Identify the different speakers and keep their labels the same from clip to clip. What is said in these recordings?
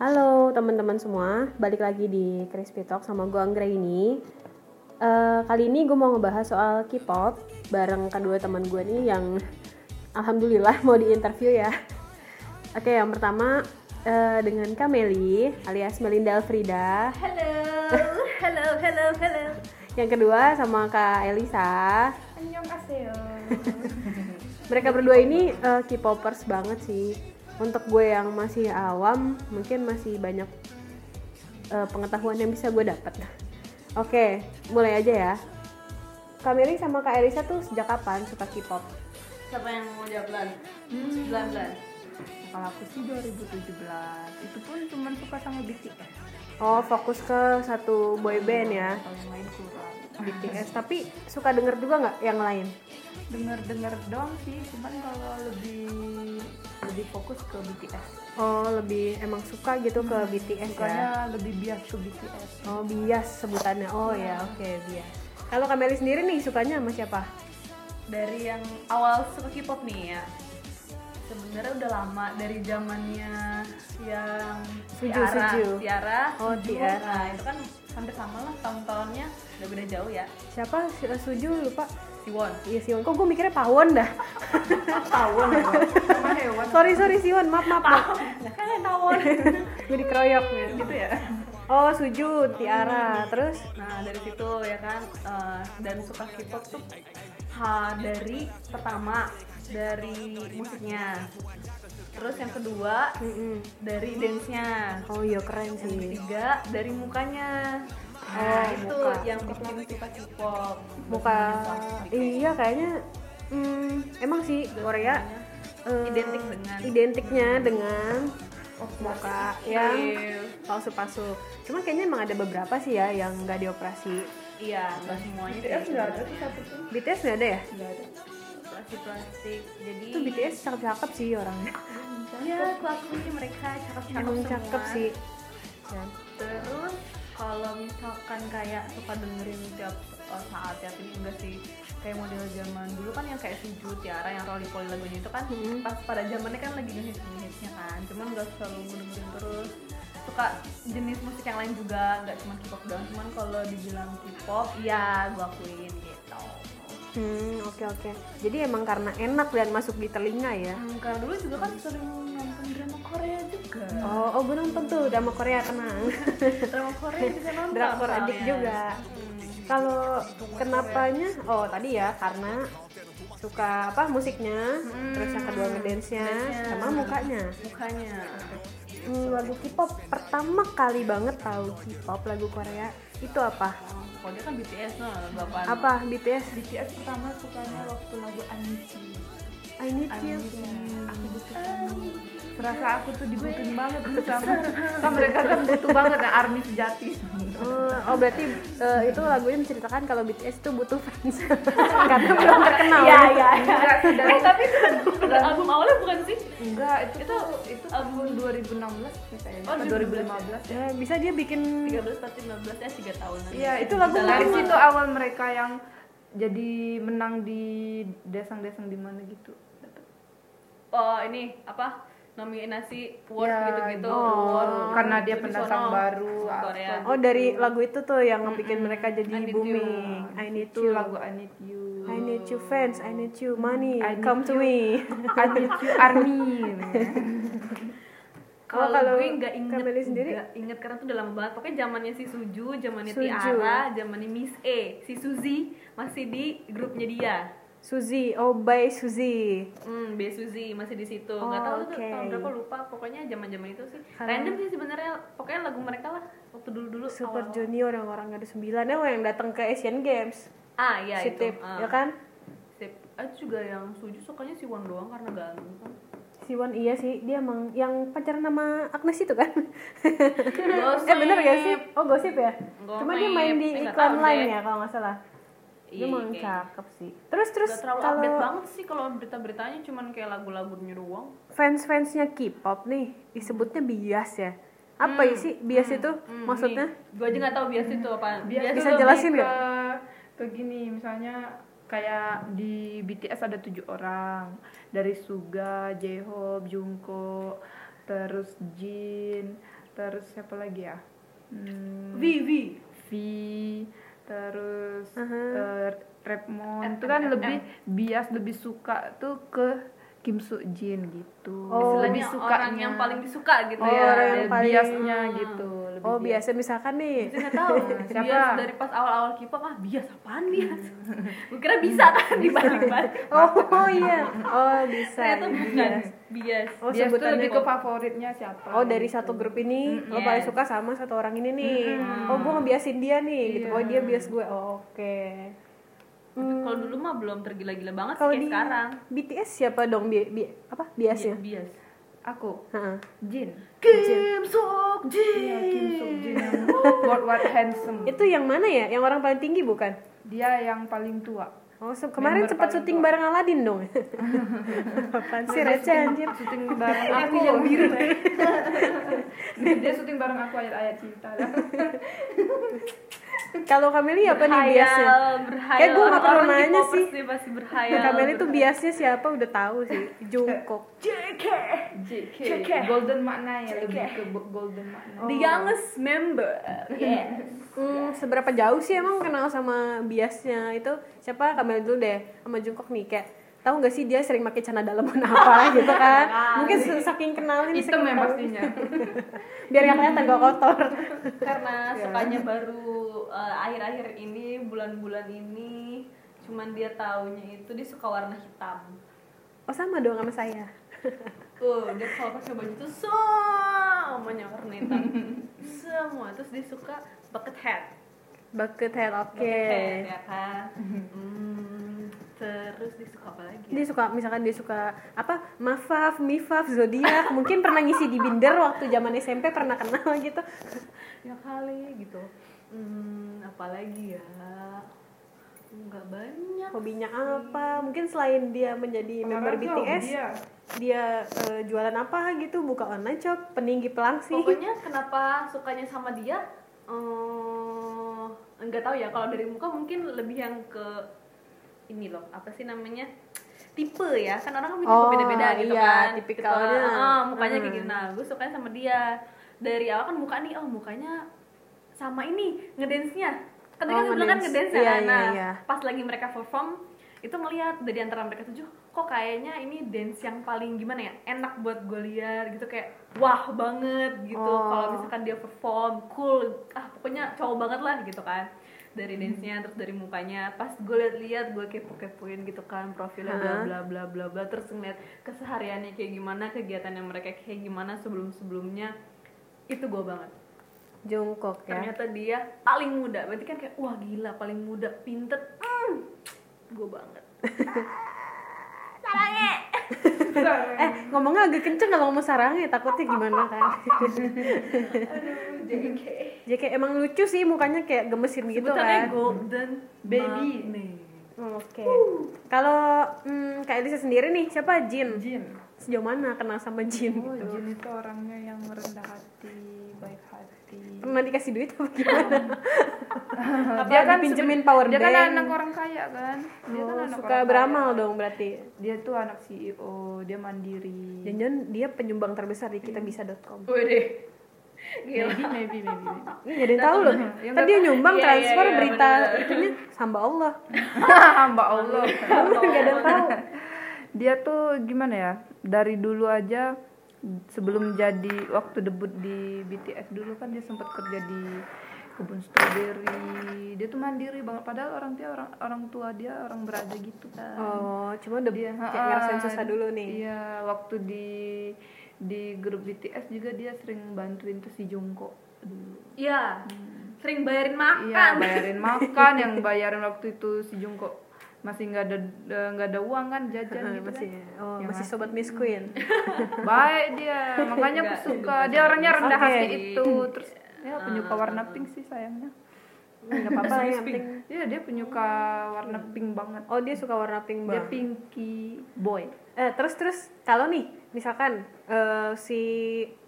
Speaker 1: Halo teman-teman semua, balik lagi di Crispy Talk sama gue Anggra ini. Eh, kali ini gue mau ngebahas soal K-pop bareng kedua teman gue nih yang alhamdulillah mau diinterview ya. Oke, yang pertama eh, dengan Kameli alias Melinda Elfrida.
Speaker 2: Halo, halo, halo, halo.
Speaker 1: Yang kedua sama Kak Elisa.
Speaker 2: Annyeonghaseyo.
Speaker 1: Mereka berdua ini eh, K-popers banget sih. Untuk gue yang masih awam, mungkin masih banyak eh, pengetahuan yang bisa gue dapat. Oke, mulai aja ya. Kak Meli sama Kak Elisa tuh sejak kapan suka K-pop?
Speaker 2: Siapa yang mau jawab bulan? Bulan bulan.
Speaker 3: Kalau aku sih 2017 Itu pun cuman suka sama BTS
Speaker 1: Oh, fokus ke satu boy band ya,
Speaker 3: Kalau yang lain kurang
Speaker 1: BTS. Tapi suka denger juga nggak yang lain?
Speaker 3: Dengar-dengar doang sih Cuman kalau lebih lebih fokus ke BTS
Speaker 1: Oh, lebih emang suka gitu ke BTS ya?
Speaker 3: Sukanya lebih bias ke BTS
Speaker 1: Oh, bias sebutannya. Oh ya, oke bias. Kalau Kak Meli sendiri nih sukanya sama siapa?
Speaker 2: Dari yang awal suka K-pop nih ya. Sebenarnya udah lama dari zamannya yang
Speaker 1: Suju,
Speaker 2: Tiara,
Speaker 1: Suju.
Speaker 2: Tiara,
Speaker 1: Oh,
Speaker 2: Suju.
Speaker 1: Tiara.
Speaker 2: Nah, itu kan hampir sama lah tahun-tahunnya. Udah beda jauh ya.
Speaker 1: siapa Suju lupa
Speaker 2: Siwon.
Speaker 1: iya Siwon kok gue mikirnya Pawon dah
Speaker 3: Tawon Sama hewan
Speaker 1: sorry sorry Siwon maaf maaf, maaf.
Speaker 2: Kalian tahun
Speaker 1: gue dikeroyok nih
Speaker 2: gitu ya.
Speaker 1: oh Suju Tiara terus
Speaker 2: Nah dari situ ya kan eh, dan suka K-pop tuh ha, dari pertama dari musiknya, terus yang kedua
Speaker 1: Mm-mm.
Speaker 2: dari dance-nya,
Speaker 1: oh iya keren sih
Speaker 2: ketiga dari mukanya. Nah, itu
Speaker 1: muka.
Speaker 2: yang bikin suka K-pop.
Speaker 1: muka iya kayaknya hmm, emang sih Korea eh,
Speaker 2: Identik dengan-
Speaker 1: identiknya dengan muka yang
Speaker 2: Iya,
Speaker 1: palsu-palsu cuman kayaknya emang ada beberapa sih ya yang nggak dioperasi
Speaker 2: Iya, nggak semuanya. gitu. sih.
Speaker 3: tuh satu pun
Speaker 1: BTS nggak ada ya
Speaker 3: Gak ada
Speaker 2: Plastik-plastik. Jadi
Speaker 1: itu BTS cakep-cakep sih orangnya Iya,
Speaker 2: ya kelakuannya mereka cakep-cakep
Speaker 1: emang
Speaker 2: semua.
Speaker 1: Iya, cakep sih
Speaker 2: Terus kalau misalkan kayak suka dengerin tiap eh, saat tiap ini enggak sih kayak model zaman dulu kan yang kayak Suju, Tiara yang Rolly Polly lagunya itu kan
Speaker 1: Hmm.
Speaker 2: pas pada zamannya kan lagi ngehits ngehitsnya kan cuman nggak selalu dengerin terus suka jenis musik yang lain juga nggak cuma K-pop doang cuman kalau dibilang K-pop iya gua akuin gitu
Speaker 1: Hmm, oke oke. Jadi emang karena enak dan masuk di telinga ya.
Speaker 2: Hmm, kalau dulu juga kan sering nonton drama Korea juga
Speaker 1: Oh, oh gue nonton tuh drama Korea tenang.
Speaker 2: drama Korea juga nonton
Speaker 1: Drakor adik
Speaker 3: Iya.
Speaker 2: soalnya.
Speaker 1: juga.
Speaker 3: Hmm.
Speaker 1: Kalau kenapanya? Oh, tadi ya karena suka apa musiknya,
Speaker 2: Hmm,
Speaker 1: terus yang kedua ngedance-nya
Speaker 2: dance-nya.
Speaker 1: sama mukanya.
Speaker 2: mukanya
Speaker 1: Hmm, lagu K-pop pertama kali banget tahu K-pop lagu Korea itu apa?
Speaker 2: kalau dia kan BTS nah bapak
Speaker 1: Apa BTS?
Speaker 3: BTS pertama sukanya waktu lagu Anichi
Speaker 1: I need you.
Speaker 3: Aku butuh kamu Serasa aku tuh dibutuhin banget nih sama Sama mereka kan butuh banget ya ARMY sejati
Speaker 2: Iya,
Speaker 1: Oh, oh, berarti eh, itu lagunya menceritakan kalau BTS itu butuh fans karena belum terkenal.
Speaker 2: Iya, iya, iya.
Speaker 3: Enggak, sudah.
Speaker 2: Eh, tapi itu kan album awalnya bukan sih?
Speaker 3: Enggak, itu itu itu tahun 2016 misalnya.
Speaker 2: Oh,
Speaker 3: Atau
Speaker 2: 2015
Speaker 3: 2015 ya.
Speaker 1: Ya, bisa dia bikin
Speaker 2: 13 tapi 15 ya 3 tahunan.
Speaker 3: Iya, itu lagu
Speaker 2: Udah
Speaker 3: dari
Speaker 2: lama.
Speaker 3: situ awal mereka yang jadi menang di desang-desang di mana gitu. Dapat.
Speaker 2: Oh, ini apa? Nominasi award
Speaker 3: Ya,
Speaker 2: gitu-gitu.
Speaker 1: oh,
Speaker 2: award.
Speaker 3: karena dia
Speaker 2: Jadi
Speaker 3: pendatang
Speaker 2: sono,
Speaker 3: baru,
Speaker 2: Korea.
Speaker 3: apa.
Speaker 1: Oh dari lagu itu tuh yang bikin mereka jadi
Speaker 2: I need
Speaker 1: booming. I need
Speaker 3: Itu
Speaker 1: you.
Speaker 3: lagu I Need You.
Speaker 1: I need you fans, I need you money,
Speaker 3: I need
Speaker 1: come to
Speaker 3: you.
Speaker 1: me.
Speaker 3: I Need You Army.
Speaker 2: Kalau
Speaker 1: Oh, kalau
Speaker 2: gue nggak inget,
Speaker 1: Kameli sendiri?
Speaker 2: nggak inget karena tuh udah lama banget. Pokoknya zamannya si Suju, zamannya
Speaker 1: Suju.
Speaker 2: Tiara, zamannya Miss E, si Suzy masih di grupnya dia.
Speaker 1: Suzy, oh by Suzy.
Speaker 2: Hmm, B Suzy masih di situ.
Speaker 1: Oh,
Speaker 2: Nggak tahu tuh
Speaker 1: oke.
Speaker 2: tahun berapa lupa. Pokoknya zaman-zaman itu sih.
Speaker 1: Karena-
Speaker 2: Random sih sebenarnya. Pokoknya lagu mereka lah waktu dulu-dulu
Speaker 1: Super
Speaker 2: awal-awal.
Speaker 1: Junior yang orang ada sembilan ya, yang datang ke Asian Games.
Speaker 2: Ah, iya
Speaker 1: si
Speaker 2: itu.
Speaker 1: Tip,
Speaker 2: Ah.
Speaker 1: ya kan?
Speaker 2: Sip. Ah, itu juga yang Suju sukanya si Won doang karena ganteng.
Speaker 1: Siwon iya sih, dia emang yang pacaran sama Agnes itu kan?
Speaker 2: Gosip.
Speaker 1: eh bener gak sih? Oh gosip ya?
Speaker 2: Gosip.
Speaker 1: Cuma dia main di
Speaker 2: Eh, nggak
Speaker 1: iklan
Speaker 2: tahu
Speaker 1: lain
Speaker 2: deh.
Speaker 1: ya kalau nggak salah. Dia
Speaker 2: Iya,
Speaker 1: emang
Speaker 2: kayaknya.
Speaker 1: cakep sih. Terus terus
Speaker 2: Gak terlalu update
Speaker 1: kalau
Speaker 2: banget sih kalau berita-beritanya cuman kayak lagu-lagunya doang.
Speaker 1: fans-fansnya K-pop nih disebutnya bias ya apa
Speaker 2: Hmm,
Speaker 1: sih bias itu
Speaker 2: Hmm,
Speaker 1: maksudnya
Speaker 2: nih, gua aja nggak tahu bias itu apaan.
Speaker 3: Dia
Speaker 2: Bias
Speaker 3: tuh
Speaker 1: Bisa
Speaker 2: itu
Speaker 3: lebih
Speaker 1: jelasin
Speaker 3: ke-
Speaker 1: nggak?
Speaker 3: Ke gini, misalnya kayak di BTS ada tujuh orang dari Suga, J-Hope, Jungkook, terus Jin, terus siapa lagi ya hmm,
Speaker 2: Vivi
Speaker 3: V terus
Speaker 1: Aha.
Speaker 3: eh, Rapmon
Speaker 2: M-
Speaker 3: itu kan
Speaker 2: M-
Speaker 3: lebih bias lebih suka tuh ke Kim Soo Jin gitu
Speaker 1: Oh,
Speaker 3: lebih
Speaker 2: Istilahnya orang yang paling disuka gitu
Speaker 1: Oh,
Speaker 2: ya
Speaker 1: orang yang
Speaker 3: Ada
Speaker 1: paling-
Speaker 3: biasnya gitu lebih
Speaker 1: oh
Speaker 3: bias.
Speaker 1: biasa misalkan nih
Speaker 2: nggak tahu
Speaker 3: Nah, siapa?
Speaker 2: bias dari pas awal-awal K-pop ah bias apaan bias gue kira bisa kan dibalik-balik
Speaker 1: oh, oh iya oh bisa
Speaker 2: ternyata bukan
Speaker 1: Bias.
Speaker 2: bias
Speaker 1: oh
Speaker 3: bias tuh
Speaker 1: sebutannya
Speaker 3: lebih ke favoritnya siapa
Speaker 1: Oh dari
Speaker 3: gitu.
Speaker 1: satu grup ini
Speaker 2: Mm,
Speaker 1: lo
Speaker 2: yes.
Speaker 1: paling suka sama satu orang ini nih.
Speaker 2: Mm-mm.
Speaker 1: Oh gue ngebiasin dia nih gitu.
Speaker 3: Iya.
Speaker 1: Oh dia bias gue. Oh, Oke. Hmm,
Speaker 2: kalau dulu mah belum tergila-gila banget sih
Speaker 1: Kalau
Speaker 2: kayak
Speaker 1: di ya?
Speaker 2: sekarang Iya,
Speaker 1: BTS siapa dong bi, bi- apa biasnya?
Speaker 2: bias
Speaker 3: aku
Speaker 1: Heeh.
Speaker 3: Jin
Speaker 2: Kim Seok
Speaker 3: Iya, Kim Soo Jin
Speaker 2: Jin
Speaker 3: yang worldwide handsome
Speaker 1: Itu yang mana ya? Yang orang paling tinggi bukan?
Speaker 3: dia yang paling tua
Speaker 1: Oh se- kemarin
Speaker 3: Member
Speaker 1: sempat
Speaker 3: paling
Speaker 1: syuting
Speaker 3: tua.
Speaker 1: bareng Aladin dong. Apaan sih receh anjir?
Speaker 3: syuting bareng aku
Speaker 1: yang
Speaker 3: biru dia syuting bareng aku ayat-ayat cinta
Speaker 1: Kalau Kameli apa nih biasnya?
Speaker 2: berhayal
Speaker 1: Kayak gua nggak pernah
Speaker 2: Orang-orang
Speaker 1: nanya
Speaker 2: K-popers
Speaker 1: sih.
Speaker 2: sih pasti berhayal
Speaker 1: Kameli tuh biasnya siapa udah tahu sih. Jungkook.
Speaker 2: JK
Speaker 3: JK
Speaker 2: JK.
Speaker 3: golden maknanya
Speaker 2: JK.
Speaker 3: lebih ke bo- golden makna
Speaker 2: the youngest member yes
Speaker 1: Hmm, seberapa jauh sih emang kenal sama biasnya itu siapa Kamel dulu deh sama Jungkook nih kayak tahu nggak sih dia sering pakai celana dalaman apa gitu kan mungkin se- saking kenalin
Speaker 3: hitam
Speaker 1: saking
Speaker 3: ya
Speaker 1: tahu.
Speaker 3: pastinya
Speaker 1: biar nggak kelihatan gak kotor
Speaker 2: karena
Speaker 1: Iya.
Speaker 3: Ya.
Speaker 2: sukanya baru eh, akhir-akhir ini bulan-bulan ini cuman dia taunya itu dia suka warna hitam
Speaker 1: oh sama dong sama saya
Speaker 2: tuh dia kalau pakai baju tuh semuanya warna hitam semua terus dia suka bucket hat
Speaker 1: bucket head oke
Speaker 2: bucket hat ya kan Hmm, terus dia suka apa lagi
Speaker 1: dia
Speaker 2: ya?
Speaker 1: suka misalkan dia suka apa mafaf mifaf zodiak mungkin pernah ngisi di binder waktu zaman SMP pernah kenal gitu
Speaker 2: ya kali gitu hmm apalagi ya nggak banyak
Speaker 1: hobinya apa mungkin selain dia menjadi member
Speaker 3: Sekarang tuh
Speaker 1: BTS
Speaker 3: dia
Speaker 1: dia eh, jualan apa gitu buka online shop peninggi pelangsing
Speaker 2: pokoknya kenapa sukanya sama dia eh, nggak tahu ya kalau dari muka mungkin lebih yang ke ini loh apa sih namanya tipe ya kan orang kan punya tipe
Speaker 1: Oh,
Speaker 2: beda-beda gitu
Speaker 1: iya,
Speaker 2: kan
Speaker 1: tipikalnya.
Speaker 2: Tipe, ah, ah, mukanya kayak
Speaker 1: Hmm.
Speaker 2: gitu nah gue sukanya sama dia dari awal kan muka nih oh mukanya sama ini ngedance nya kan
Speaker 1: Oh,
Speaker 2: tadi kan gue bilang kan
Speaker 1: ngedance.
Speaker 2: ngedance ya
Speaker 1: Iya,
Speaker 2: kan?
Speaker 1: iya,
Speaker 2: nah
Speaker 1: iya.
Speaker 2: pas lagi mereka perform itu ngelihat dari antara mereka tujuh kok kayaknya ini dance yang paling gimana ya enak buat gue lihat gitu kayak wah banget gitu
Speaker 1: Oh.
Speaker 2: kalau misalkan dia perform cool ah pokoknya cowok banget lah gitu kan dari
Speaker 1: Hmm.
Speaker 2: dance nya terus dari mukanya pas gue lihat-lihat gue kepo kepoin gitu kan profilnya bla
Speaker 1: Hah?
Speaker 2: bla bla bla bla terus ngeliat kesehariannya kayak gimana kegiatan yang mereka kayak gimana sebelum sebelumnya itu gue banget
Speaker 1: Jungkook ya.
Speaker 2: ternyata dia paling muda berarti kan kayak wah gila paling muda pinter mm, gue banget sarangnya
Speaker 1: Eh, ngomongnya agak kenceng kalau ngomong sarangnya takutnya gimana kan.
Speaker 2: JK
Speaker 1: Jadi kayak emang lucu sih mukanya kayak gemesin gitu
Speaker 2: Sebutannya
Speaker 1: kan.
Speaker 2: golden
Speaker 3: Baby.
Speaker 2: nih
Speaker 1: Oke. Kalau hmm, Kak Elisa sendiri nih, siapa Jin?
Speaker 3: Jin
Speaker 1: Sejauh mana kenal sama Jin?
Speaker 3: oh
Speaker 1: gitu?
Speaker 3: Jin itu orangnya yang rendah hati baik hati
Speaker 1: Pernah dikasih duit apa gimana? Apa
Speaker 3: Dia kan
Speaker 1: dipinjemin power
Speaker 3: dia kan
Speaker 1: bank?
Speaker 3: anak orang kaya kan dia kan
Speaker 1: Oh,
Speaker 3: anak
Speaker 1: suka
Speaker 3: orang kaya.
Speaker 1: beramal dong berarti.
Speaker 3: dia tuh anak CEO dia mandiri
Speaker 1: Jangan-jangan dia penyumbang terbesar di kitabisa.com.
Speaker 2: deh gila
Speaker 3: maybe maybe maybe, maybe.
Speaker 1: Ini jadi tahu loh.
Speaker 3: Ya,
Speaker 1: Kan dia nyumbang
Speaker 2: Iya, iya,
Speaker 1: transfer
Speaker 2: iya,
Speaker 1: berita
Speaker 2: bener.
Speaker 1: itunya sama Allah.
Speaker 3: Mbak Allah
Speaker 1: Enggak ada yang tahu.
Speaker 3: dia tuh gimana ya dari dulu aja sebelum jadi waktu debut di BTS dulu kan dia sempat kerja di kebun stroberi dia tuh mandiri banget padahal orang dia orang orang tua dia orang berada gitu kan
Speaker 1: Oh, cuma udah
Speaker 3: dia
Speaker 1: kayak ngerasain susah dulu nih.
Speaker 3: iya waktu di di grup BTS juga dia sering bantuin tuh si Jungkook dulu
Speaker 2: iya sering bayarin makan
Speaker 1: Ah.
Speaker 3: Iya bayarin makan yang bayarin waktu itu si Jungkook masih nggak ada eh, nggak ada uang kan jajan
Speaker 1: Heeh,
Speaker 3: gitu
Speaker 1: masih
Speaker 3: kan.
Speaker 1: oh,
Speaker 3: Ya,
Speaker 1: masih
Speaker 3: Mas.
Speaker 1: sobat Miss Queen.
Speaker 3: baik dia makanya aku
Speaker 2: Nggak,
Speaker 3: suka
Speaker 2: nggak.
Speaker 3: dia orangnya rendah
Speaker 1: Oke.
Speaker 3: hati itu terus ya penyuka warna pink sih sayangnya
Speaker 1: Enggak apa-apa yang penting.
Speaker 3: iya dia penyuka warna pink banget
Speaker 1: Oh, dia suka warna pink
Speaker 3: dia
Speaker 1: banget.
Speaker 3: pinky boy
Speaker 1: Eh, terus terus kalau nih misalkan eh, si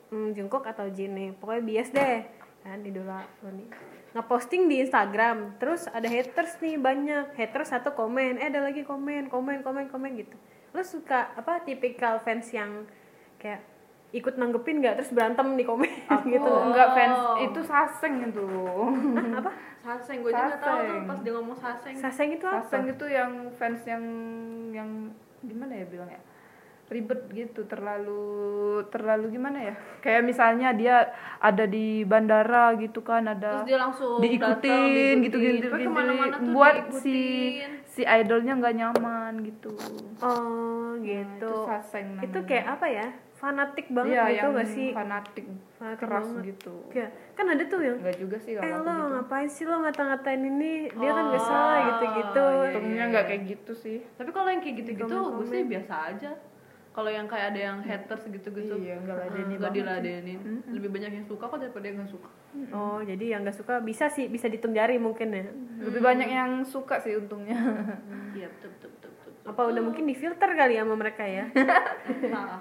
Speaker 1: mm, Jungkook atau Jin nih, pokoknya bias deh. Kan idola lo nih. Ngeposting di Instagram, terus ada haters nih banyak. Haters satu komen, eh ada lagi komen, komen, komen, komen gitu. Lo suka apa tipikal fans yang kayak ikut nanggepin nggak terus berantem di komen
Speaker 3: Aku
Speaker 1: gitu
Speaker 3: nggak fans itu saseng itu.
Speaker 1: apa
Speaker 2: Saseng, gue aja nggak tahu tuh
Speaker 3: Saseng.
Speaker 2: pas dia ngomong saseng.
Speaker 1: saseng itu apa
Speaker 3: Saseng itu yang fans yang yang gimana ya bilangnya ribet gitu terlalu terlalu gimana ya kayak misalnya dia ada di bandara gitu kan
Speaker 2: Terus
Speaker 3: ada
Speaker 2: dia langsung datang, diikutin.
Speaker 3: diikutin gitu gitu
Speaker 2: Pokoknya kemana-mana tuh
Speaker 3: buat si
Speaker 2: diikutin.
Speaker 3: si idolnya nggak nyaman gitu
Speaker 1: oh
Speaker 3: Nah, itu
Speaker 1: gitu
Speaker 3: saseng namanya.
Speaker 1: itu kayak apa ya fanatik banget
Speaker 3: Iya,
Speaker 1: gitu
Speaker 3: yang
Speaker 1: gak sih
Speaker 3: fanatik,
Speaker 1: Fanatik
Speaker 3: keras
Speaker 1: banget.
Speaker 3: gitu
Speaker 1: Kayak, kan ada tuh yang
Speaker 3: nggak juga sih
Speaker 1: eh
Speaker 3: kalau aku
Speaker 1: lo
Speaker 3: gitu
Speaker 1: ngapain sih lo ngata-ngatain ini dia kan
Speaker 2: Oh,
Speaker 1: gak salah gitu-gitu
Speaker 2: iya, iya.
Speaker 3: untungnya nggak kayak gitu sih
Speaker 2: Tapi kalau yang kayak gitu-gitu gue sih
Speaker 1: Komen-komen.
Speaker 2: biasa aja. Kalau yang kayak ada yang haters gitu-gitu, Ah,
Speaker 3: Iya, nggak ladenin
Speaker 2: nggak
Speaker 3: banget sih.
Speaker 2: diladenin. Lebih banyak yang suka kok daripada yang nggak suka.
Speaker 1: oh jadi yang gak suka bisa sih bisa dipenjari mungkin ya
Speaker 3: lebih banyak yang suka sih untungnya
Speaker 2: Iya, betul betul betul. betul, betul.
Speaker 1: apa udah mungkin difilter kali ya sama mereka ya
Speaker 2: Nah,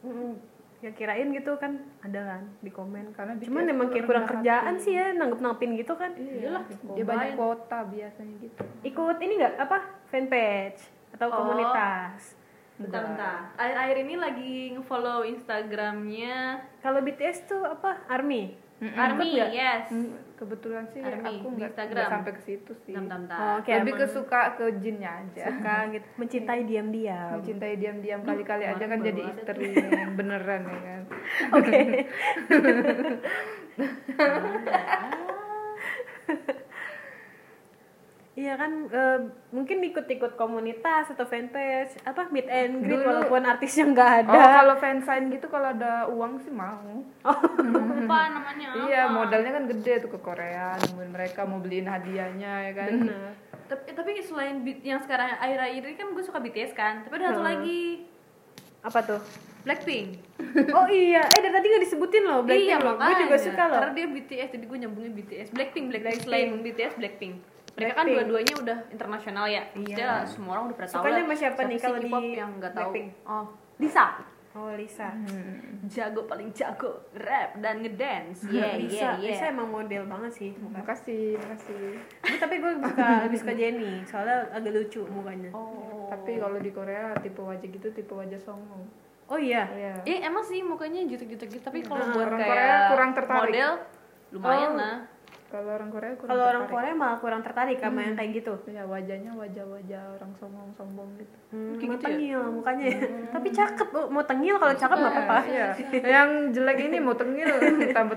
Speaker 1: Mm-mm. ya kirain gitu kan ada kan di komen
Speaker 3: Karena BTS
Speaker 1: cuman
Speaker 3: tuh
Speaker 1: emang kayak
Speaker 3: rendah
Speaker 1: kurang
Speaker 3: hati.
Speaker 1: kerjaan sih ya nanggep nanggepin gitu kan
Speaker 2: iyalah,
Speaker 3: dia banyak kuota biasanya gitu
Speaker 1: ikut ini nggak apa fanpage atau
Speaker 2: Oh.
Speaker 1: komunitas
Speaker 2: Bentar-bentar. Akhir-akhir ini lagi ngefollow Instagramnya
Speaker 1: kalau BTS tuh apa army
Speaker 2: Army, yes.
Speaker 3: Hmm, kebetulan sih
Speaker 2: Army,
Speaker 3: aku
Speaker 2: di
Speaker 3: nggak
Speaker 2: Instagram.
Speaker 3: nggak sampai ke situ sih
Speaker 2: Tam tam
Speaker 1: oh,
Speaker 2: tam.
Speaker 1: oke okay,
Speaker 3: lebih ke
Speaker 1: emang
Speaker 3: suka ke jinnya aja
Speaker 1: suka gitu mencintai diam-diam
Speaker 3: mencintai diam-diam kali-kali aja
Speaker 2: kemarin
Speaker 3: kan jadi
Speaker 2: baru ada
Speaker 3: istri yang beneran ya kan
Speaker 1: oke Iya kan eh, mungkin ikut-ikut komunitas atau fanpage apa meet and greet
Speaker 3: Dulu-
Speaker 1: walaupun artisnya nggak ada.
Speaker 3: oh kalau fansign gitu kalau ada uang sih mau
Speaker 2: Apa namanya?
Speaker 1: Ah.
Speaker 3: iya
Speaker 2: apa?
Speaker 3: modalnya kan gede tuh ke Korea nemuin mereka mau beliin hadiahnya ya kan
Speaker 1: Bener.
Speaker 2: Tapi, eh, tapi selain beat yang sekarang akhir-akhir ini kan gue suka BTS kan. Tapi ada satu lagi
Speaker 1: Apa tuh?
Speaker 2: Blackpink.
Speaker 1: Oh iya, eh dari tadi nggak disebutin loh
Speaker 3: Iya,
Speaker 1: Blackpink loh. Gue juga
Speaker 2: makanya.
Speaker 1: suka loh.
Speaker 2: Karena dia BTS, jadi gue nyambungin BTS. Blackpink,
Speaker 1: Blackpink.
Speaker 2: Blackpink, selain BTS, Blackpink. Mereka kan
Speaker 1: Blackpink.
Speaker 2: dua-duanya udah internasional ya. Maksudnya semua orang udah pernah tahu.
Speaker 1: Sukanya
Speaker 2: lah.
Speaker 1: sama siapa nih
Speaker 2: sih
Speaker 1: kalau di
Speaker 2: K-pop yang nggak tahu?
Speaker 1: Blackpink?
Speaker 2: Oh, Lisa.
Speaker 1: Oh Lisa.
Speaker 3: Hmm.
Speaker 2: Jago paling jago rap dan ngedance.
Speaker 3: Iya,
Speaker 2: Yeah,
Speaker 1: Lisa,
Speaker 2: yeah, yeah.
Speaker 1: Lisa emang model banget sih.
Speaker 3: makasih makasih
Speaker 1: Gua- tapi gue suka lebih suka Jennie, soalnya agak lucu mukanya. Oh,
Speaker 2: Oh.
Speaker 3: tapi kalau di Korea tipe wajah gitu tipe wajah songong
Speaker 1: iya.
Speaker 3: Iya.
Speaker 2: Eh, emang sih mukanya jutek-jutek gitu, tapi kalau
Speaker 1: Nah,
Speaker 2: buat
Speaker 3: orang
Speaker 2: kayak
Speaker 3: Korea kurang tertarik.
Speaker 2: model lumayan
Speaker 1: Oh.
Speaker 2: lah.
Speaker 3: kalau orang Korea kurang
Speaker 1: Kalau orang
Speaker 3: tertarik.
Speaker 1: Korea malah kurang tertarik sama yang kayak gitu.
Speaker 3: ya wajahnya wajah-wajah orang songong sombong gitu
Speaker 1: Hmm, mau
Speaker 2: Kayak gitu ya? Hmm.
Speaker 1: tengil mukanya ya. Tapi cakep, Bu. mau tengil kalau cakep nggak apa-apa.
Speaker 3: Iya. yang jelek ini mau tengil tambah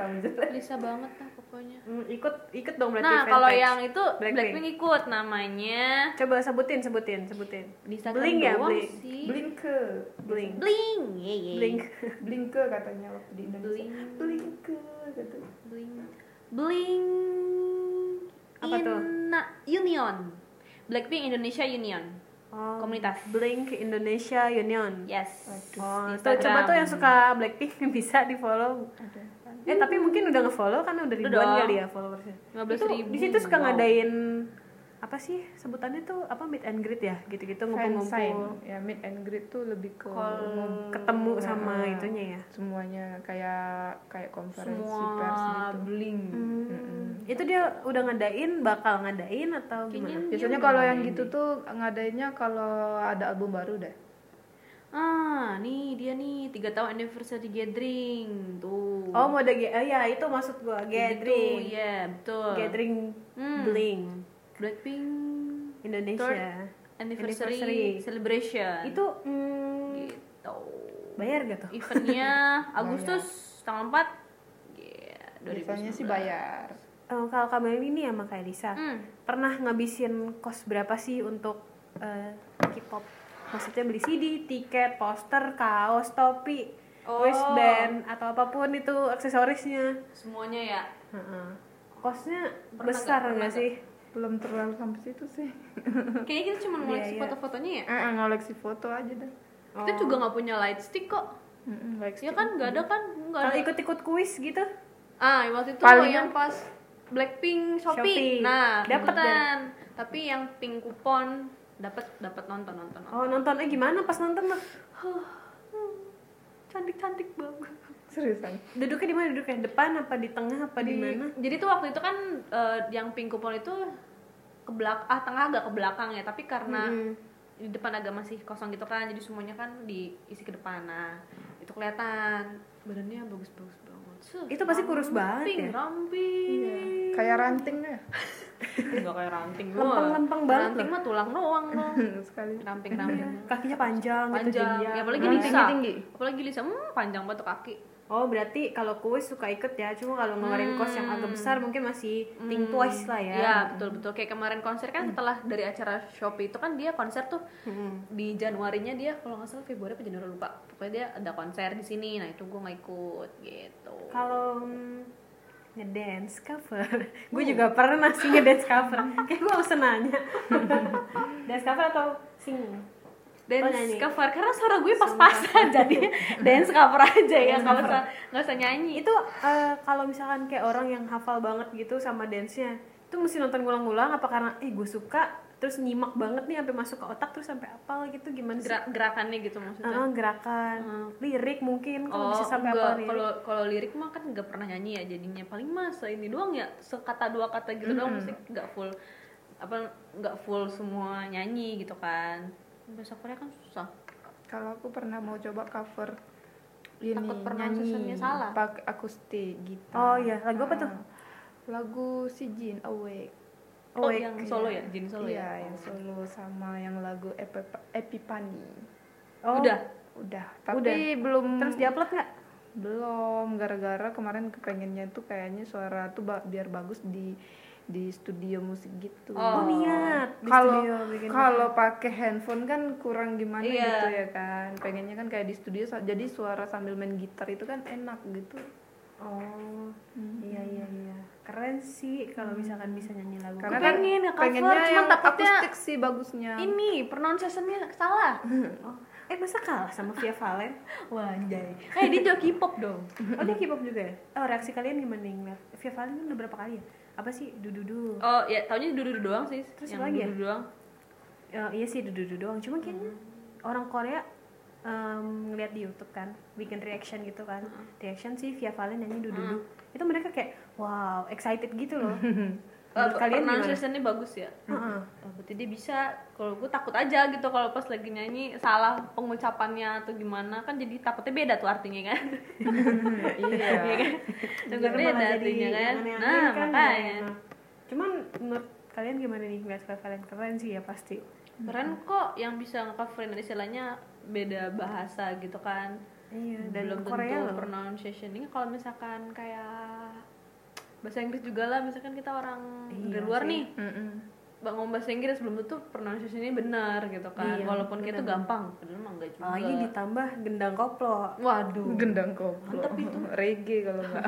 Speaker 3: tambah jelek
Speaker 2: Lisa banget lah pokoknya.
Speaker 1: Hmm, ikut ikut dong berarti.
Speaker 2: Nah,
Speaker 1: fanpage.
Speaker 2: kalau yang itu
Speaker 1: Blackpink.
Speaker 2: Blackpink. ikut namanya
Speaker 1: coba sebutin sebutin sebutin.
Speaker 2: di Instagram
Speaker 1: Blink ya,
Speaker 2: doang
Speaker 1: Blink.
Speaker 2: sih.
Speaker 3: blinke
Speaker 1: Blink.
Speaker 2: Bling. iya, Yeah, yeah.
Speaker 1: Blink.
Speaker 3: blinke katanya waktu di Indonesia gitu.
Speaker 2: Blink.
Speaker 3: blinke katanya
Speaker 2: Bling. Bling.
Speaker 1: Apa tuh?
Speaker 2: Inna- Union. Blackpink Indonesia Union.
Speaker 1: Oh,
Speaker 2: Komunitas.
Speaker 1: Blink Indonesia Union.
Speaker 2: Yes.
Speaker 1: Oh,
Speaker 2: Di
Speaker 1: tuh
Speaker 2: Instagram.
Speaker 1: coba tuh yang suka Blackpink bisa di follow. Eh tapi mungkin udah nge-follow kan udah ribuan
Speaker 2: Hmm. dong.
Speaker 1: kali ya followersnya.
Speaker 2: 15.000.
Speaker 1: Itu di situ suka
Speaker 2: Wow.
Speaker 1: ngadain apa sih sebutannya tuh apa meet and greet ya gitu-gitu
Speaker 3: fansign
Speaker 1: ngumpul-ngumpul
Speaker 3: ya meet and greet tuh lebih ke
Speaker 2: Oh.
Speaker 3: ngom-
Speaker 1: ketemu sama
Speaker 3: Nah,
Speaker 2: Iya.
Speaker 1: itunya ya.
Speaker 3: semuanya kayak kayak konferensi pers
Speaker 2: Semua
Speaker 3: gitu
Speaker 2: bling.
Speaker 1: Itu dia udah ngadain bakal ngadain atau
Speaker 2: Kayaknya
Speaker 1: gimana?
Speaker 2: dia
Speaker 3: biasanya
Speaker 2: udah
Speaker 3: kalau yang
Speaker 2: ngadain
Speaker 3: gitu
Speaker 2: deh.
Speaker 3: tuh ngadainnya kalau ada album baru deh
Speaker 2: Ah, nih dia nih 3 tahun anniversary gathering tuh.
Speaker 1: Oh, mau ada ge- eh, ya itu maksud gua
Speaker 2: gathering.
Speaker 1: gathering.
Speaker 2: Iya, betul.
Speaker 1: Gathering
Speaker 2: Hmm.
Speaker 1: Blink
Speaker 2: Blackpink
Speaker 1: Indonesia.
Speaker 2: anniversary,
Speaker 1: Anniversary.
Speaker 2: celebration.
Speaker 1: Itu mm,
Speaker 2: gitu.
Speaker 1: bayar gak tuh?
Speaker 2: Eventnya Agustus tanggal Iya, 4 yeah, 2019.
Speaker 3: biasanya sih bayar
Speaker 1: Eh, kalau kamu ini sama kayak Lisa,
Speaker 2: Hmm.
Speaker 1: pernah ngabisin kos berapa sih untuk eh, K-pop? Maksudnya beli CD, tiket, poster, kaos, topi,
Speaker 2: Oh.
Speaker 1: wristband atau apapun itu aksesorisnya.
Speaker 2: Semuanya ya.
Speaker 1: Heeh. Kosnya
Speaker 2: Pernah
Speaker 1: besar
Speaker 2: nggak? Pernah
Speaker 1: nggak sih?
Speaker 3: belum terlalu sampai situ sih
Speaker 2: Kayaknya kita cuma
Speaker 1: Iya, Oh.
Speaker 2: ngoleksi
Speaker 1: iya.
Speaker 2: foto-fotonya ya.
Speaker 3: Eh, eh, ngoleksi foto aja deh
Speaker 2: Kita juga nggak punya light stick kok.
Speaker 3: Mm-mm, ngoleksi
Speaker 2: Ya kan nggak ada kan? Nggak
Speaker 1: Kalau
Speaker 2: ada.
Speaker 1: ikut-ikut kuis gitu?
Speaker 2: Ah, waktu itu yang
Speaker 3: Palingan-
Speaker 2: pas Blackpink Shopee.
Speaker 1: Shopee.
Speaker 2: Nah,
Speaker 1: Dapet
Speaker 2: ikutan. Tapi yang pink kupon dapat dapat nonton nonton. nonton.
Speaker 1: Oh nontonnya gimana pas nonton tuh?
Speaker 2: Cantik cantik banget.
Speaker 3: seriusan
Speaker 1: Duduknya di mana duduknya? Depan apa di tengah apa di mana?
Speaker 2: Jadi tuh waktu itu kan
Speaker 1: Hmm.
Speaker 2: eh, yang pink kupon itu ke belak ah tengah agak ke belakang ya, tapi karena di depan agak masih kosong gitu kan jadi semuanya kan diisi ke depan nah itu kelihatan badannya bagus-bagus banget Suh,
Speaker 1: Itu pasti kurus banget
Speaker 2: ramping,
Speaker 1: ya?
Speaker 2: ramping
Speaker 3: kayak ranting deh
Speaker 2: nggak kayak ranting gua.
Speaker 1: Lempeng-lempeng banget
Speaker 2: ranting
Speaker 1: loh.
Speaker 2: mah tulang doang dong
Speaker 3: sekali
Speaker 2: ramping ramping
Speaker 1: Kakinya panjang, gitu
Speaker 2: panjang
Speaker 1: jadinya.
Speaker 2: ya, apalagi
Speaker 1: Hmm.
Speaker 3: Tinggi,
Speaker 2: Lisa
Speaker 3: tinggi.
Speaker 2: apalagi Lisa hmm, panjang banget tuh kaki
Speaker 1: Oh berarti kalau kuis suka ikut ya, cuma kalau ngeluarin kos yang agak besar mungkin masih think twice lah ya.
Speaker 2: Hmm. Iya betul betul kayak kemarin konser kan setelah dari acara Shopee itu kan dia konser tuh
Speaker 1: Hmm.
Speaker 2: di Januarinya dia kalau nggak salah Februari apa Januari lupa pokoknya dia ada konser di sini nah itu gue nggak ikut gitu
Speaker 1: Kalau mm, ngedance cover,
Speaker 2: Oh.
Speaker 1: gue juga pernah sih ngedance cover. Kayak gue usah nanya. dance cover atau singing?
Speaker 2: dance
Speaker 1: nyanyi.
Speaker 2: cover karena suara gue pas-pasan jadi dance cover aja ya kalau sa- nggak usah nyanyi
Speaker 1: Itu eh, kalau misalkan kayak orang yang hafal banget gitu sama dance-nya, itu mesti nonton ulang-ulang apa karena eh gue suka terus nyimak banget nih sampai masuk ke otak terus sampai apal gitu gimana sih?
Speaker 2: gerak gerakannya gitu maksudnya
Speaker 1: Eh, gerakan, lirik mungkin kalau bisa sampai
Speaker 2: Oh, enggak.
Speaker 1: apal lirik.
Speaker 2: kalau kalau lirik mah kan nggak pernah nyanyi ya jadinya paling masa ini doang ya sekata dua kata gitu doang musik nggak full apa nggak full semua nyanyi gitu kan bahasa Korea kan susah
Speaker 3: kalau aku pernah mau coba cover ini
Speaker 2: Takut pronunciation-nya
Speaker 3: nyanyi
Speaker 2: salah.
Speaker 3: pakai akustik gitar Ah.
Speaker 1: Oh iya, lagu apa tuh?
Speaker 3: lagu si Jin Awake
Speaker 2: oh,
Speaker 1: Awake,
Speaker 2: yang solo ya Jin solo
Speaker 3: iya
Speaker 2: ya
Speaker 3: yang solo sama yang lagu Epi- Epipani
Speaker 1: Oh,
Speaker 2: udah
Speaker 3: udah tapi belum
Speaker 1: Terus diupload nggak?
Speaker 3: belum gara-gara kemarin kepengennya tuh kayaknya suara tuh ba- biar bagus di di studio musik gitu
Speaker 1: Oh,
Speaker 2: Oh.
Speaker 1: niat di
Speaker 3: kalau
Speaker 1: studio bikin.
Speaker 3: kalau pakai handphone kan kurang gimana
Speaker 2: Iya.
Speaker 3: gitu ya kan pengennya kan kayak di studio sa- jadi suara sambil main gitar itu kan enak gitu
Speaker 1: oh
Speaker 2: Hmm.
Speaker 1: iya iya iya keren sih kalau misalkan bisa nyanyi lagu.
Speaker 3: karena
Speaker 2: Gue pengen nge-cover,
Speaker 3: kan pengennya
Speaker 2: cuman
Speaker 3: yang
Speaker 2: takutnya
Speaker 3: akustik sih bagusnya
Speaker 2: ini pronunciation-nya salah
Speaker 1: Oh, eh masa kalah sama Via Valen?
Speaker 2: wah anjay eh dia joki pop dong
Speaker 1: Oh dia K-pop juga ya? Oh reaksi kalian gimana nih ngeliat Via Valen kan udah berapa kali ya? Apa sih dududu?
Speaker 2: oh ya taunya dudu doang sih
Speaker 1: Terus
Speaker 2: yang
Speaker 1: apa lagi ya?
Speaker 2: dudu doang
Speaker 1: Eh, iya sih dududu doang. Cuma kayaknya
Speaker 2: Hmm.
Speaker 1: orang Korea em, ngeliat di YouTube kan, bikin reaction gitu kan.
Speaker 2: Hmm.
Speaker 1: Reaction sih Via Valen nyanyi dududu. Itu mereka kayak wow excited gitu loh. Menurut kalian
Speaker 2: kalian
Speaker 1: gimana?
Speaker 2: Eh, pronunciation-nya bagus ya
Speaker 1: Heeh.
Speaker 2: Oh, berarti dia bisa kalau gue takut aja gitu kalau pas lagi nyanyi salah pengucapannya atau gimana kan jadi takutnya beda tuh artinya kan
Speaker 3: iya
Speaker 2: Juga
Speaker 1: Jangan
Speaker 2: beda
Speaker 1: malah
Speaker 2: artinya kan
Speaker 1: aneh-aneh
Speaker 2: nah
Speaker 1: kan,
Speaker 2: makanya
Speaker 1: ya. Cuman menurut kalian gimana nih ngeliat Via Valen? Keren sih ya pasti.
Speaker 2: keren kok yang bisa ngecoverin istilahnya beda bahasa gitu kan
Speaker 1: Iya, dan
Speaker 2: belum
Speaker 1: Korea loh.
Speaker 2: tentu pronunciation ini kalau misalkan kayak bahasa Inggris juga lah misalkan kita orang
Speaker 1: Iya
Speaker 2: dari
Speaker 1: sih.
Speaker 2: luar nih bang ngomong bahasa Inggris belum tentu pronunciationnya benar gitu kan
Speaker 1: Iya, Ah,
Speaker 2: walaupun kayak itu
Speaker 1: benar-benar.
Speaker 2: gampang padahal mah enggak juga
Speaker 1: Apalagi Oh, iya, ditambah gendang koplo.
Speaker 2: waduh
Speaker 3: gendang kok
Speaker 2: Mantep itu.
Speaker 3: reggae kalau enggak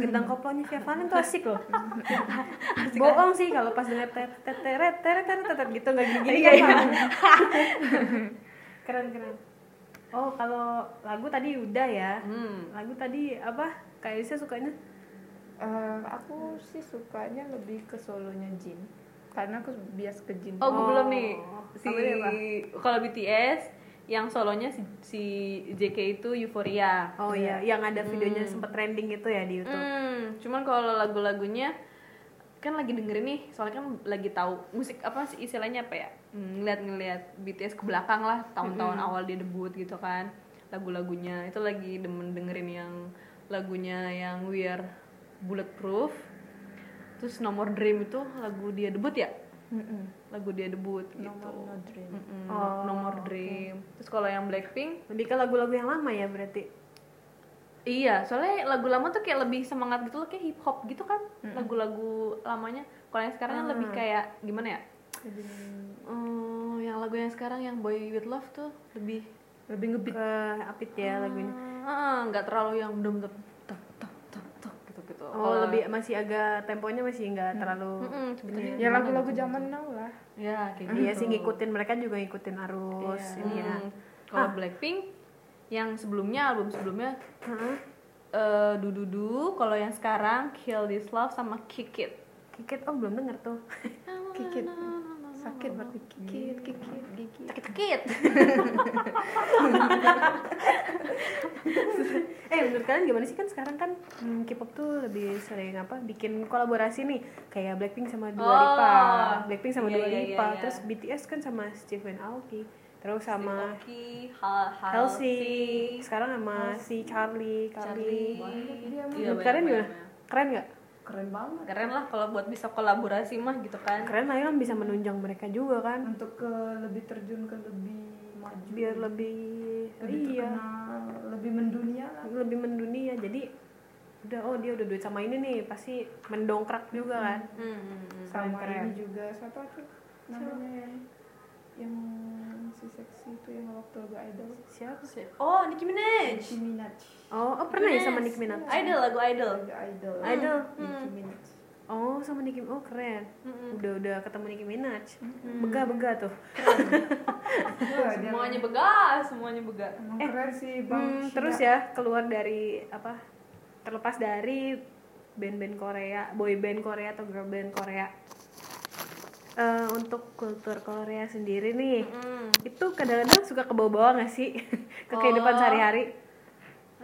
Speaker 1: Gendang koplonya Via Valen tuh asik loh.
Speaker 2: kan?
Speaker 1: Bohong sih kalau pas denger teret teret teret teret teret gitu nggak gini
Speaker 2: Iya,
Speaker 1: gini kan. Keren keren. Oh kalau lagu tadi udah ya.
Speaker 2: hmm.
Speaker 1: Lagu tadi apa? Kayak Elisa sukanya?
Speaker 3: Eh, aku sih sukanya lebih ke solonya Jin karena aku bias ke Jin
Speaker 2: Oh, gue
Speaker 1: Oh.
Speaker 2: belum nih. Si
Speaker 1: Apa dia, Pak?
Speaker 2: kalau BTS yang solonya si, si JK itu Euphoria.
Speaker 1: Oh iya, yang ada videonya sempet trending gitu ya di YouTube.
Speaker 2: Hmm, cuman kalau lagu-lagunya kan lagi dengerin nih, soalnya kan lagi tahu musik apa sih istilahnya apa ya? Hmm, Ngeliat-ngeliat BTS ke belakang lah tahun-tahun
Speaker 1: Hmm.
Speaker 2: awal dia debut gitu kan. Lagu-lagunya itu lagi demen dengerin yang lagunya yang We Are Bulletproof. Terus nomor Dream itu lagu dia debut ya?
Speaker 3: Mm-mm.
Speaker 2: Lagu dia debut gitu.
Speaker 3: Nomor No Dream.
Speaker 2: Mm-mm,
Speaker 1: Oh,
Speaker 2: nomor dream terus kalau yang blackpink
Speaker 1: Lebih ke lagu-lagu yang lama ya berarti.
Speaker 2: iya soalnya lagu lama tuh kayak lebih semangat gitu loh kayak hip hop gitu kan lagu-lagu lamanya kalau yang sekarang lebih kayak gimana ya Hmm, yang lagu yang sekarang yang boy with love tuh lebih
Speaker 3: lebih
Speaker 2: Iya,
Speaker 3: ngebeat
Speaker 1: Ke apit ya
Speaker 2: Hmm.
Speaker 1: lagunya.
Speaker 2: Ah, nggak terlalu yang dum dum dum dum dum dum gitu gitu
Speaker 1: Oh, lebih masih agak temponya masih
Speaker 2: Hmm.
Speaker 1: nggak terlalu
Speaker 2: sebetulnya
Speaker 3: ya lagu-lagu zaman now lah
Speaker 2: ya kayak gitu
Speaker 1: Iya sih ngikutin mereka juga ngikutin arus ini ya.
Speaker 2: Hmm, kalau blackpink yang sebelumnya album sebelumnya
Speaker 1: Heeh.
Speaker 2: eh dududu kalau yang sekarang kill this love sama kick it
Speaker 1: Kikit oh belum denger tuh.
Speaker 3: kikit sakit berarti kikit kikit
Speaker 2: Iya.
Speaker 3: kikit
Speaker 2: sakit sakit
Speaker 1: eh menurut kalian gimana sih kan sekarang kan hmm, K-pop tuh lebih sering apa bikin kolaborasi nih kayak Blackpink sama Dua
Speaker 2: Oh,
Speaker 1: Lipa. Blackpink sama
Speaker 2: Iya,
Speaker 1: Dua
Speaker 2: iya,
Speaker 1: Lipa,
Speaker 2: iya, iya.
Speaker 1: terus BTS kan sama Stephen Aoki, terus sama
Speaker 2: Oki, Hal Hal
Speaker 1: Halsey, sekarang sama si Carly, Carly.
Speaker 3: Dia emang-
Speaker 2: Iya,
Speaker 1: Menurut kalian
Speaker 2: banyak,
Speaker 1: gimana? Keren nggak?
Speaker 3: keren banget
Speaker 2: Keren lah kalau buat bisa kolaborasi mah gitu kan.
Speaker 1: Keren lah kan bisa menunjang mereka juga kan,
Speaker 3: untuk ke lebih terjun ke lebih maju
Speaker 1: biar lebih
Speaker 3: Hmm. lebih
Speaker 1: iya
Speaker 3: terkenal lebih mendunia lah
Speaker 1: lebih mendunia. Jadi udah oh dia udah duit sama ini nih pasti mendongkrak juga kan.
Speaker 2: Hmm, hmm, hmm.
Speaker 3: sama
Speaker 1: Keren, keren.
Speaker 3: ini juga siapa tuh namanya yang yang si seksi itu yang waktu lagu idol
Speaker 1: Siapa?
Speaker 2: Oh, Nicki Minaj.
Speaker 3: Nicki Minaj
Speaker 1: Oh, oh pernah ya sama
Speaker 2: Yes.
Speaker 1: Nicki Minaj?
Speaker 2: Idol lagu Idol.
Speaker 3: lagu idol
Speaker 1: Idol.
Speaker 3: Nicki Minaj
Speaker 1: Oh, sama Nicki. Oh, keren.
Speaker 3: Hmm.
Speaker 2: Mm-mm.
Speaker 1: Udah udah ketemu Nicki Minaj. Begah-begah tuh.
Speaker 3: Wah, dia
Speaker 2: Semuanya begas, semuanya begas.
Speaker 3: emang keren sih bang
Speaker 1: Hmm,
Speaker 3: Shida.
Speaker 1: terus ya keluar dari apa? Terlepas dari band-band Korea, boy band Korea atau girl band Korea. Eh, untuk kultur Korea sendiri nih,
Speaker 2: Hmm.
Speaker 1: itu kadang-kadang suka kebawa-bawa nggak sih ke kehidupan
Speaker 2: Oh.
Speaker 1: sehari-hari?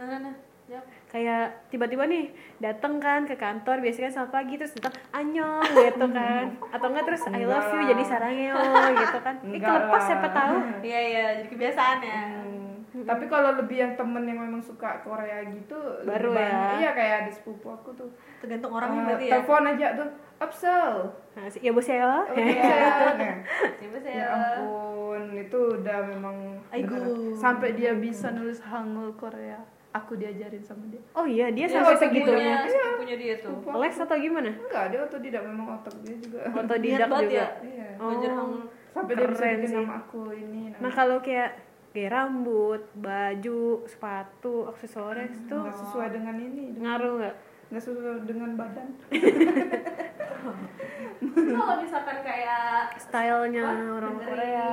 Speaker 2: Nah, nah, nah. Yap.
Speaker 1: Kayak tiba-tiba nih dateng kan ke kantor biasanya selamat pagi terus datang anyong gitu kan atau enggak terus I love you jadi sarangeo gitu kan eh
Speaker 3: Enggak
Speaker 1: kelepas
Speaker 3: lah.
Speaker 1: siapa tahu
Speaker 2: Iya, iya, jadi kebiasaan ya.
Speaker 3: Hmm. Tapi kalau lebih yang temen yang memang suka Korea gitu
Speaker 1: Baru
Speaker 3: lebih banyak.
Speaker 1: ya.
Speaker 3: Iya kayak ada sepupu aku tuh
Speaker 2: Tergantung orangnya
Speaker 3: Eh,
Speaker 2: berarti ya.
Speaker 3: Telepon aja tuh Upsell
Speaker 1: nah, si- ya bu saya
Speaker 3: Oh, iya. Nah,
Speaker 2: Siapa sih?
Speaker 3: Ya ampun
Speaker 1: Ya
Speaker 3: Itu udah memang
Speaker 1: Aigo.
Speaker 3: bener-bener. Sampai dia bisa nulis Hangul Korea Aku diajarin sama dia
Speaker 1: oh iya dia
Speaker 2: Iya,
Speaker 1: sampai
Speaker 2: sepupunya,
Speaker 1: segitunya
Speaker 2: sepupunya dia tuh.
Speaker 3: Sepupu aku.
Speaker 1: les atau gimana
Speaker 3: Enggak dia waktu tidak memang otak dia juga
Speaker 1: otodidak
Speaker 2: Niat banget
Speaker 1: juga
Speaker 2: ya.
Speaker 3: Iya
Speaker 2: Belajar
Speaker 1: Oh.
Speaker 2: Hangul.
Speaker 3: Sampai dia bisa
Speaker 1: Keren
Speaker 3: bikin
Speaker 1: sih.
Speaker 3: nama aku ini nama
Speaker 1: nah kalau kayak kayak rambut baju sepatu aksesoris
Speaker 2: Hmm,
Speaker 1: tuh
Speaker 3: nggak sesuai dengan ini
Speaker 1: ngaruh nggak
Speaker 3: Nggak sesuai dengan badan
Speaker 2: Terus kalau misalkan kayak
Speaker 1: stylenya
Speaker 2: Wah,
Speaker 1: orang
Speaker 2: dengerin
Speaker 1: Korea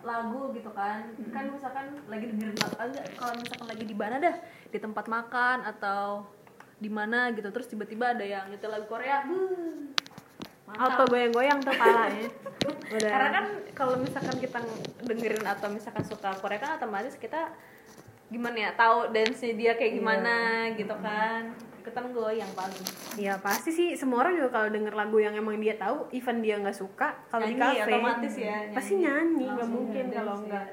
Speaker 2: lagu gitu kan kan misalkan lagi dengerin lagu ah, enggak, kalau misalkan lagi di mana dah di tempat makan atau di mana gitu terus tiba-tiba ada yang nyetel lagu Korea buh,
Speaker 1: auto
Speaker 2: mantap
Speaker 1: goyang-goyang tuh palanya ya? udah
Speaker 2: karena kan kalau misalkan kita dengerin atau misalkan suka Korea kan otomatis kita gimana ya tahu dance nya dia kayak gimana gitu kan ikutan goyang paling
Speaker 1: Iya pasti sih semua orang juga kalau denger lagu yang emang dia tahu, even dia nggak suka kalau di
Speaker 2: Nyanyi
Speaker 1: kafe
Speaker 2: otomatis ya, nyanyi.
Speaker 1: pasti nyanyi nggak
Speaker 2: Langsung
Speaker 1: mungkin
Speaker 2: dance
Speaker 1: kalau
Speaker 2: ya.
Speaker 1: nggak.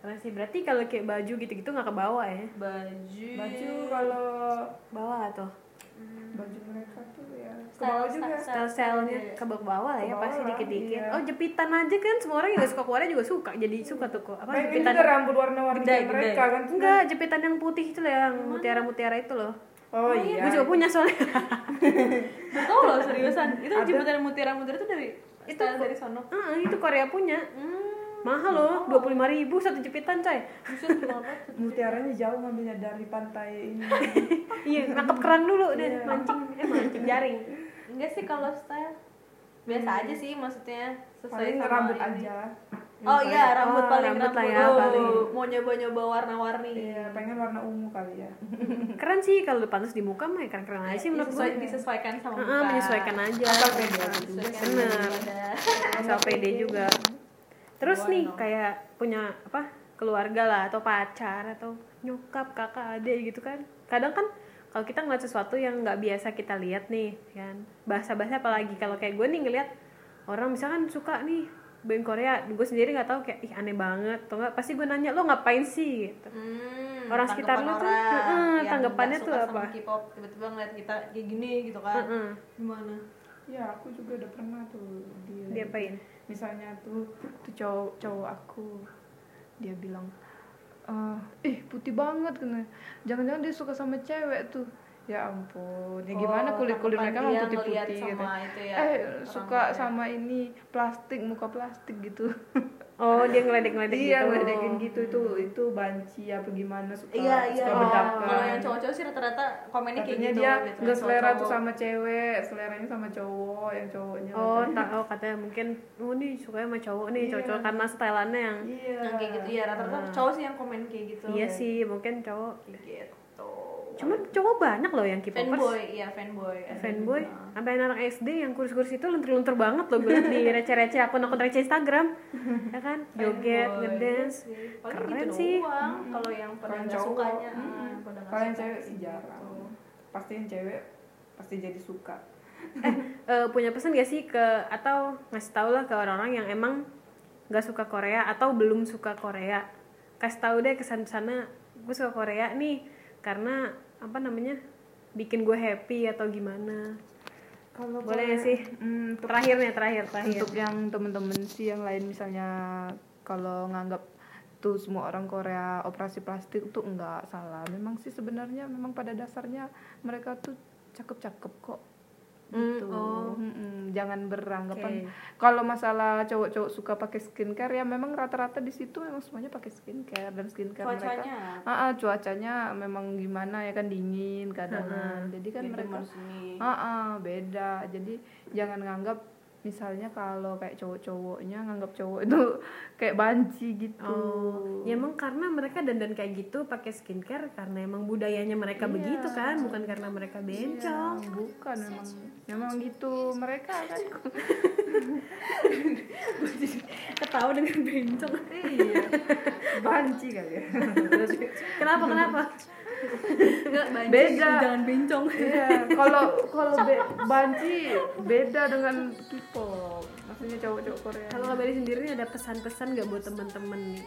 Speaker 1: Karena sih berarti kalau kayak baju gitu-gitu nggak kebawa ya?
Speaker 2: baju
Speaker 3: Baju
Speaker 1: Iya.
Speaker 3: kalau
Speaker 1: Bawa lah tuh.
Speaker 3: Baju mereka tuh ya ke
Speaker 2: Style-
Speaker 3: bawah juga
Speaker 2: style-
Speaker 1: Style-stylenya ke bawah lah ya
Speaker 3: Kebawa
Speaker 1: pasti
Speaker 3: lah,
Speaker 1: dikit-dikit.
Speaker 3: iya.
Speaker 1: Oh jepitan aja kan semua orang yang nggak suka Korea juga suka. Jadi suka tuh kok. Apa
Speaker 3: Pengen
Speaker 1: jepitan?
Speaker 3: juga rambut warna-warni
Speaker 2: Gede,
Speaker 3: kayak mereka kan
Speaker 1: Enggak, jepitan yang putih itu loh yang mutiara-mutiara itu loh.
Speaker 3: Oh iya
Speaker 1: Gue juga punya soalnya.
Speaker 2: Gak tau loh seriusan itu jembatan mutiara-mutiara itu dari
Speaker 1: Itu
Speaker 2: itu dari sono
Speaker 1: Ah, itu Korea punya. Hmm, Mahal loh, dua puluh ribu satu jepitan coy.
Speaker 2: Buset, mahal banget.
Speaker 3: Mutiaranya jauh ngambilnya dari pantai ini
Speaker 1: Iya, nangkep kerang dulu deh, mancing, eh mancing jaring.
Speaker 2: Enggak sih kalau style biasa
Speaker 1: Hmm.
Speaker 2: aja sih maksudnya sesuai
Speaker 3: Paling
Speaker 2: sama
Speaker 3: rambut
Speaker 2: ini.
Speaker 3: aja
Speaker 2: Oh iya rambut
Speaker 1: oh,
Speaker 2: paling
Speaker 1: rambut
Speaker 2: rambut,
Speaker 1: lah ya,
Speaker 2: Oh,
Speaker 1: paling.
Speaker 2: mau nyoba-nyoba warna-warni.
Speaker 3: Iya, pengen warna ungu kali ya
Speaker 1: Keren sih kalau pantas di muka mah ya keren-keren aja sih menurut gue.
Speaker 2: Disesuai- Nah, disesuaikan Iya, sama
Speaker 1: Heeh,
Speaker 2: muka.
Speaker 1: menyesuaikan aja.
Speaker 2: Iya.
Speaker 3: Atau pede aja juga
Speaker 2: Disesuaikan
Speaker 1: Bener.
Speaker 2: dengan badan.
Speaker 1: Asal pede juga. Terus
Speaker 2: Bono.
Speaker 1: nih kayak punya apa keluarga lah atau pacar atau nyokap kakak adik gitu kan. Kadang kan kalau kita ngeliat sesuatu yang nggak biasa kita lihat nih kan bahasa-bahasa apalagi kalau kayak gue nih ngeliat orang misalkan suka nih band Korea gue sendiri nggak tahu kayak ih aneh banget atau nggak pasti gue nanya lo ngapain sih gitu
Speaker 2: Hmm,
Speaker 1: Orang sekitar lu tuh,
Speaker 2: tanggapan orang
Speaker 1: heeh,
Speaker 2: yang
Speaker 1: tanggapannya
Speaker 2: nggak
Speaker 1: tuh
Speaker 2: suka sama
Speaker 1: apa?
Speaker 2: K-pop tiba-tiba ngeliat kita kayak gini gitu kan.
Speaker 1: Heeh.
Speaker 2: Gimana?
Speaker 3: Ya, aku juga udah pernah tuh dia.
Speaker 2: ya?
Speaker 1: diapain
Speaker 3: Misalnya tuh tuh cowok cowok aku. Dia bilang, "Eh, ih putih banget kena. Jangan-jangan dia suka sama cewek tuh." Ya ampun, ya gimana
Speaker 2: Oh,
Speaker 3: kulit-kulit mereka
Speaker 2: tanggapan
Speaker 3: emang
Speaker 2: dia ngeliat
Speaker 3: putih-putih gitu.
Speaker 2: sama itu ya,
Speaker 3: eh,
Speaker 2: orang
Speaker 3: suka
Speaker 2: Korea.
Speaker 3: sama ini plastik, muka plastik gitu.
Speaker 1: oh dia ngeledek-ngeledek
Speaker 3: Iya,
Speaker 1: gitu
Speaker 3: ngeledekin gitu itu itu banci apa gimana suka
Speaker 2: Iya iya.
Speaker 3: suka kan.
Speaker 1: Oh.
Speaker 3: bedakan.
Speaker 2: Kalau yang cowok-cowok sih rata-rata komennya kayak
Speaker 3: Katanya
Speaker 2: gitu.
Speaker 3: dia
Speaker 2: gitu.
Speaker 3: nggak selera tuh
Speaker 2: Cowok-cowok.
Speaker 3: sama cewek, seleranya sama cowok, yang cowoknya.
Speaker 1: Oh,
Speaker 3: katanya.
Speaker 1: tak oh katanya mungkin oh nih sukanya sama cowok nih,
Speaker 3: Iya.
Speaker 1: cowok karena stylannya yang
Speaker 3: Iya.
Speaker 2: Nah, kayak gitu ya rata-rata cowok sih yang komen kayak gitu.
Speaker 1: iya sih, mungkin cowok.
Speaker 2: Kayak gitu.
Speaker 1: Cuman cowok banyak loh yang K-popers.
Speaker 2: fanboy, iya fanboy. Nah, Ada
Speaker 1: Fanboy.
Speaker 3: Iya.
Speaker 2: juga.
Speaker 1: Sampai anak SD yang kurus-kurus itu luntur-luntur banget loh gue liat di receh-receh akun-akun receh Instagram. Ya kan? Joget,
Speaker 2: Fanboy,
Speaker 1: ngedance.
Speaker 2: iya sih. Paling
Speaker 1: Keren
Speaker 2: gitu
Speaker 1: sih.
Speaker 2: doang kalau yang pada
Speaker 3: Kalau
Speaker 2: nggak
Speaker 3: yang Hmm. cowok,
Speaker 2: sukanya.
Speaker 3: mm-mm.
Speaker 2: ah, pada nggak
Speaker 3: Kalau yang
Speaker 2: suka
Speaker 3: cewek
Speaker 2: kayak
Speaker 3: sih
Speaker 2: gitu.
Speaker 3: jarang. Pasti yang cewek pasti jadi suka.
Speaker 1: Eh, punya pesan gak sih ke atau ngasih tau lah ke orang-orang yang emang nggak suka Korea atau belum suka Korea kasih tau deh kesan sana gue suka Korea nih karena apa namanya bikin gue happy atau gimana
Speaker 3: Kalau
Speaker 1: Boleh
Speaker 3: Korea-
Speaker 1: nggak sih?
Speaker 3: Hmm, untuk-
Speaker 1: terakhirnya terakhir terakhir
Speaker 3: untuk yang temen-temen sih yang lain misalnya kalau nganggap tuh semua orang Korea operasi plastik tuh nggak salah memang sih sebenarnya memang pada dasarnya mereka tuh cakep-cakep kok
Speaker 1: Hmm,
Speaker 3: gitu
Speaker 1: oh.
Speaker 3: Mm-mm, jangan beranggapan
Speaker 1: Oke.
Speaker 3: kalau masalah cowok-cowok suka pakai skincare ya memang rata-rata di situ memang semuanya pakai skincare dan skincare mereka
Speaker 2: cuacanya
Speaker 3: Ah, ah, cuacanya memang gimana ya kan dingin kadang
Speaker 1: Ha-ha.
Speaker 3: jadi kan
Speaker 2: Jadi
Speaker 3: mereka
Speaker 2: marsuni.
Speaker 3: Ah, ah, beda. Jadi jangan nganggap misalnya kalau kayak cowok-cowoknya nganggap cowok itu kayak banci gitu.
Speaker 1: Oh, ya emang karena mereka dandan kayak gitu pakai skincare karena emang budayanya mereka begitu kan, bukan karena mereka
Speaker 3: Iya,
Speaker 1: bencong.
Speaker 3: bukan memang. Memang gitu mereka kan.
Speaker 1: Ketawa dengan bencong.
Speaker 3: iya. Banci kali ya.
Speaker 1: kenapa kenapa?
Speaker 3: Beda.
Speaker 1: Jangan bencong.
Speaker 3: Iya, kalau kalau be- banci beda dengan K-pop. Maksudnya cowok-cowok Korea.
Speaker 1: Kalau kabari sendiri ada pesan-pesan nggak buat temen-temen nih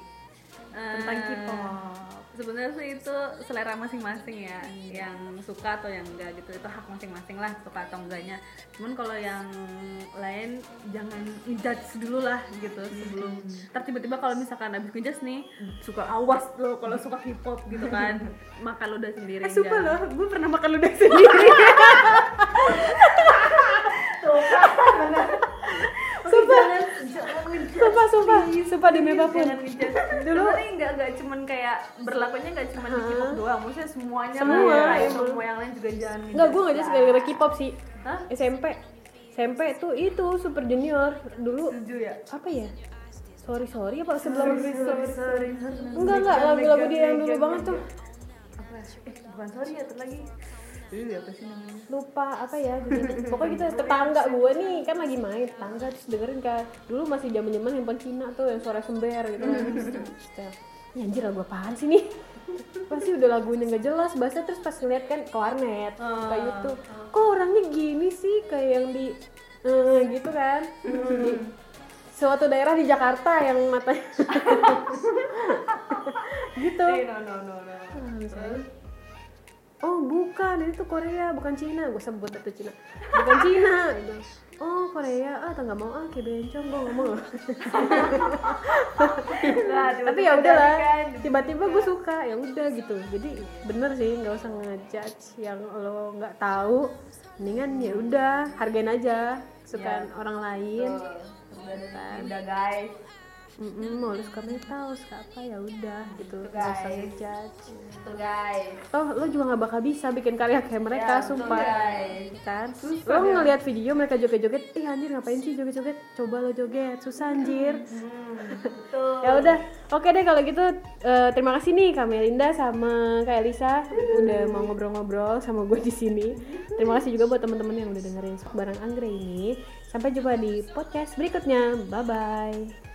Speaker 1: tentang
Speaker 2: Eh,
Speaker 1: K-pop?
Speaker 2: sebenarnya sih itu selera masing-masing ya yang suka atau yang enggak gitu itu hak masing-masing lah suka atau enggaknya cuman kalau yang lain jangan ngejudge dulu lah gitu sebelum
Speaker 1: Hmm.
Speaker 2: ntar tiba-tiba kalau misalkan abis ngejudge nih suka awas lo kalau suka hip hop gitu kan makan lo udah sendiri
Speaker 1: Eh, sumpah loh,
Speaker 2: jangan.
Speaker 1: gue pernah makan ludah sendiri. sumpah, sumpah, sumpah, sumpah demi apapun.
Speaker 2: iya. dulu nggak nggak cuman kayak berlakunya nggak cuman di hip hop doang maksudnya semuanya lah
Speaker 1: Semua,
Speaker 2: ya.
Speaker 1: emang.
Speaker 2: semua yang lain juga jangan
Speaker 1: Enggak, gue
Speaker 2: ngejudge
Speaker 1: nggak jadi
Speaker 2: lah.
Speaker 1: gara-gara K-pop sih.
Speaker 2: Hah?
Speaker 1: SMP, SMP tuh itu Super Junior dulu
Speaker 2: setuju ya
Speaker 1: apa ya? Sorry sorry apa sebelum Enggak enggak lagu-lagu dia yang dulu banget tuh
Speaker 2: apa eh bukan sorry ya terlagi Iya, apa sih namanya?
Speaker 1: lupa apa ya judulnya. pokoknya kita tetangga gue nih kan lagi main tetangga terus dengerin kan dulu masih zaman zaman handphone Cina tuh yang suara sember gitu kan Terus kayak, "Ih, anjir lagu apaan sih nih pasti udah lagunya nggak jelas bahasa terus pas ngeliat kan ke warnet ke YouTube kok orangnya gini sih kayak yang di eh, gitu kan di suatu daerah di Jakarta yang matanya gitu
Speaker 2: Eh, no, no, no, no.
Speaker 1: Ah, misalnya, Oh bukan, ini tuh Korea, bukan Cina. Gue sebut itu Cina. Bukan Cina. Dia bilang, Oh Korea, ah tangga mau ah kayak bencong gue ngomong.
Speaker 2: Iya, Nah, tiba-tiba
Speaker 1: Tapi ya udahlah,
Speaker 2: kan.
Speaker 1: tiba-tiba gue suka ya udah gitu. Jadi bener sih nggak usah ngejudge yang lo nggak tahu. Mendingan ya udah hargain aja
Speaker 2: Iya.
Speaker 1: kesukaan orang lain.
Speaker 2: Tuh, udah ada kan. Udah guys.
Speaker 1: Mm-mm, mau lu suka metal, suka apa ya udah gitu.
Speaker 2: Gitu,
Speaker 1: Nggak usah
Speaker 2: guys.
Speaker 1: ngejudge.
Speaker 2: Tuh guys.
Speaker 1: toh lo juga gak bakal bisa bikin karya kayak mereka
Speaker 2: Ya, betul,
Speaker 1: sumpah
Speaker 2: guys.
Speaker 1: kan lo ngelihat video mereka joget-joget ih anjir ngapain sih joget-joget coba lo joget susah anjir
Speaker 2: Betul.
Speaker 1: ya udah oke deh kalau gitu eh, terima kasih nih kak Melinda sama kak Elisa udah mau ngobrol-ngobrol sama gue di sini terima kasih juga buat teman-teman yang udah dengerin barang anggrek ini sampai jumpa di podcast berikutnya bye bye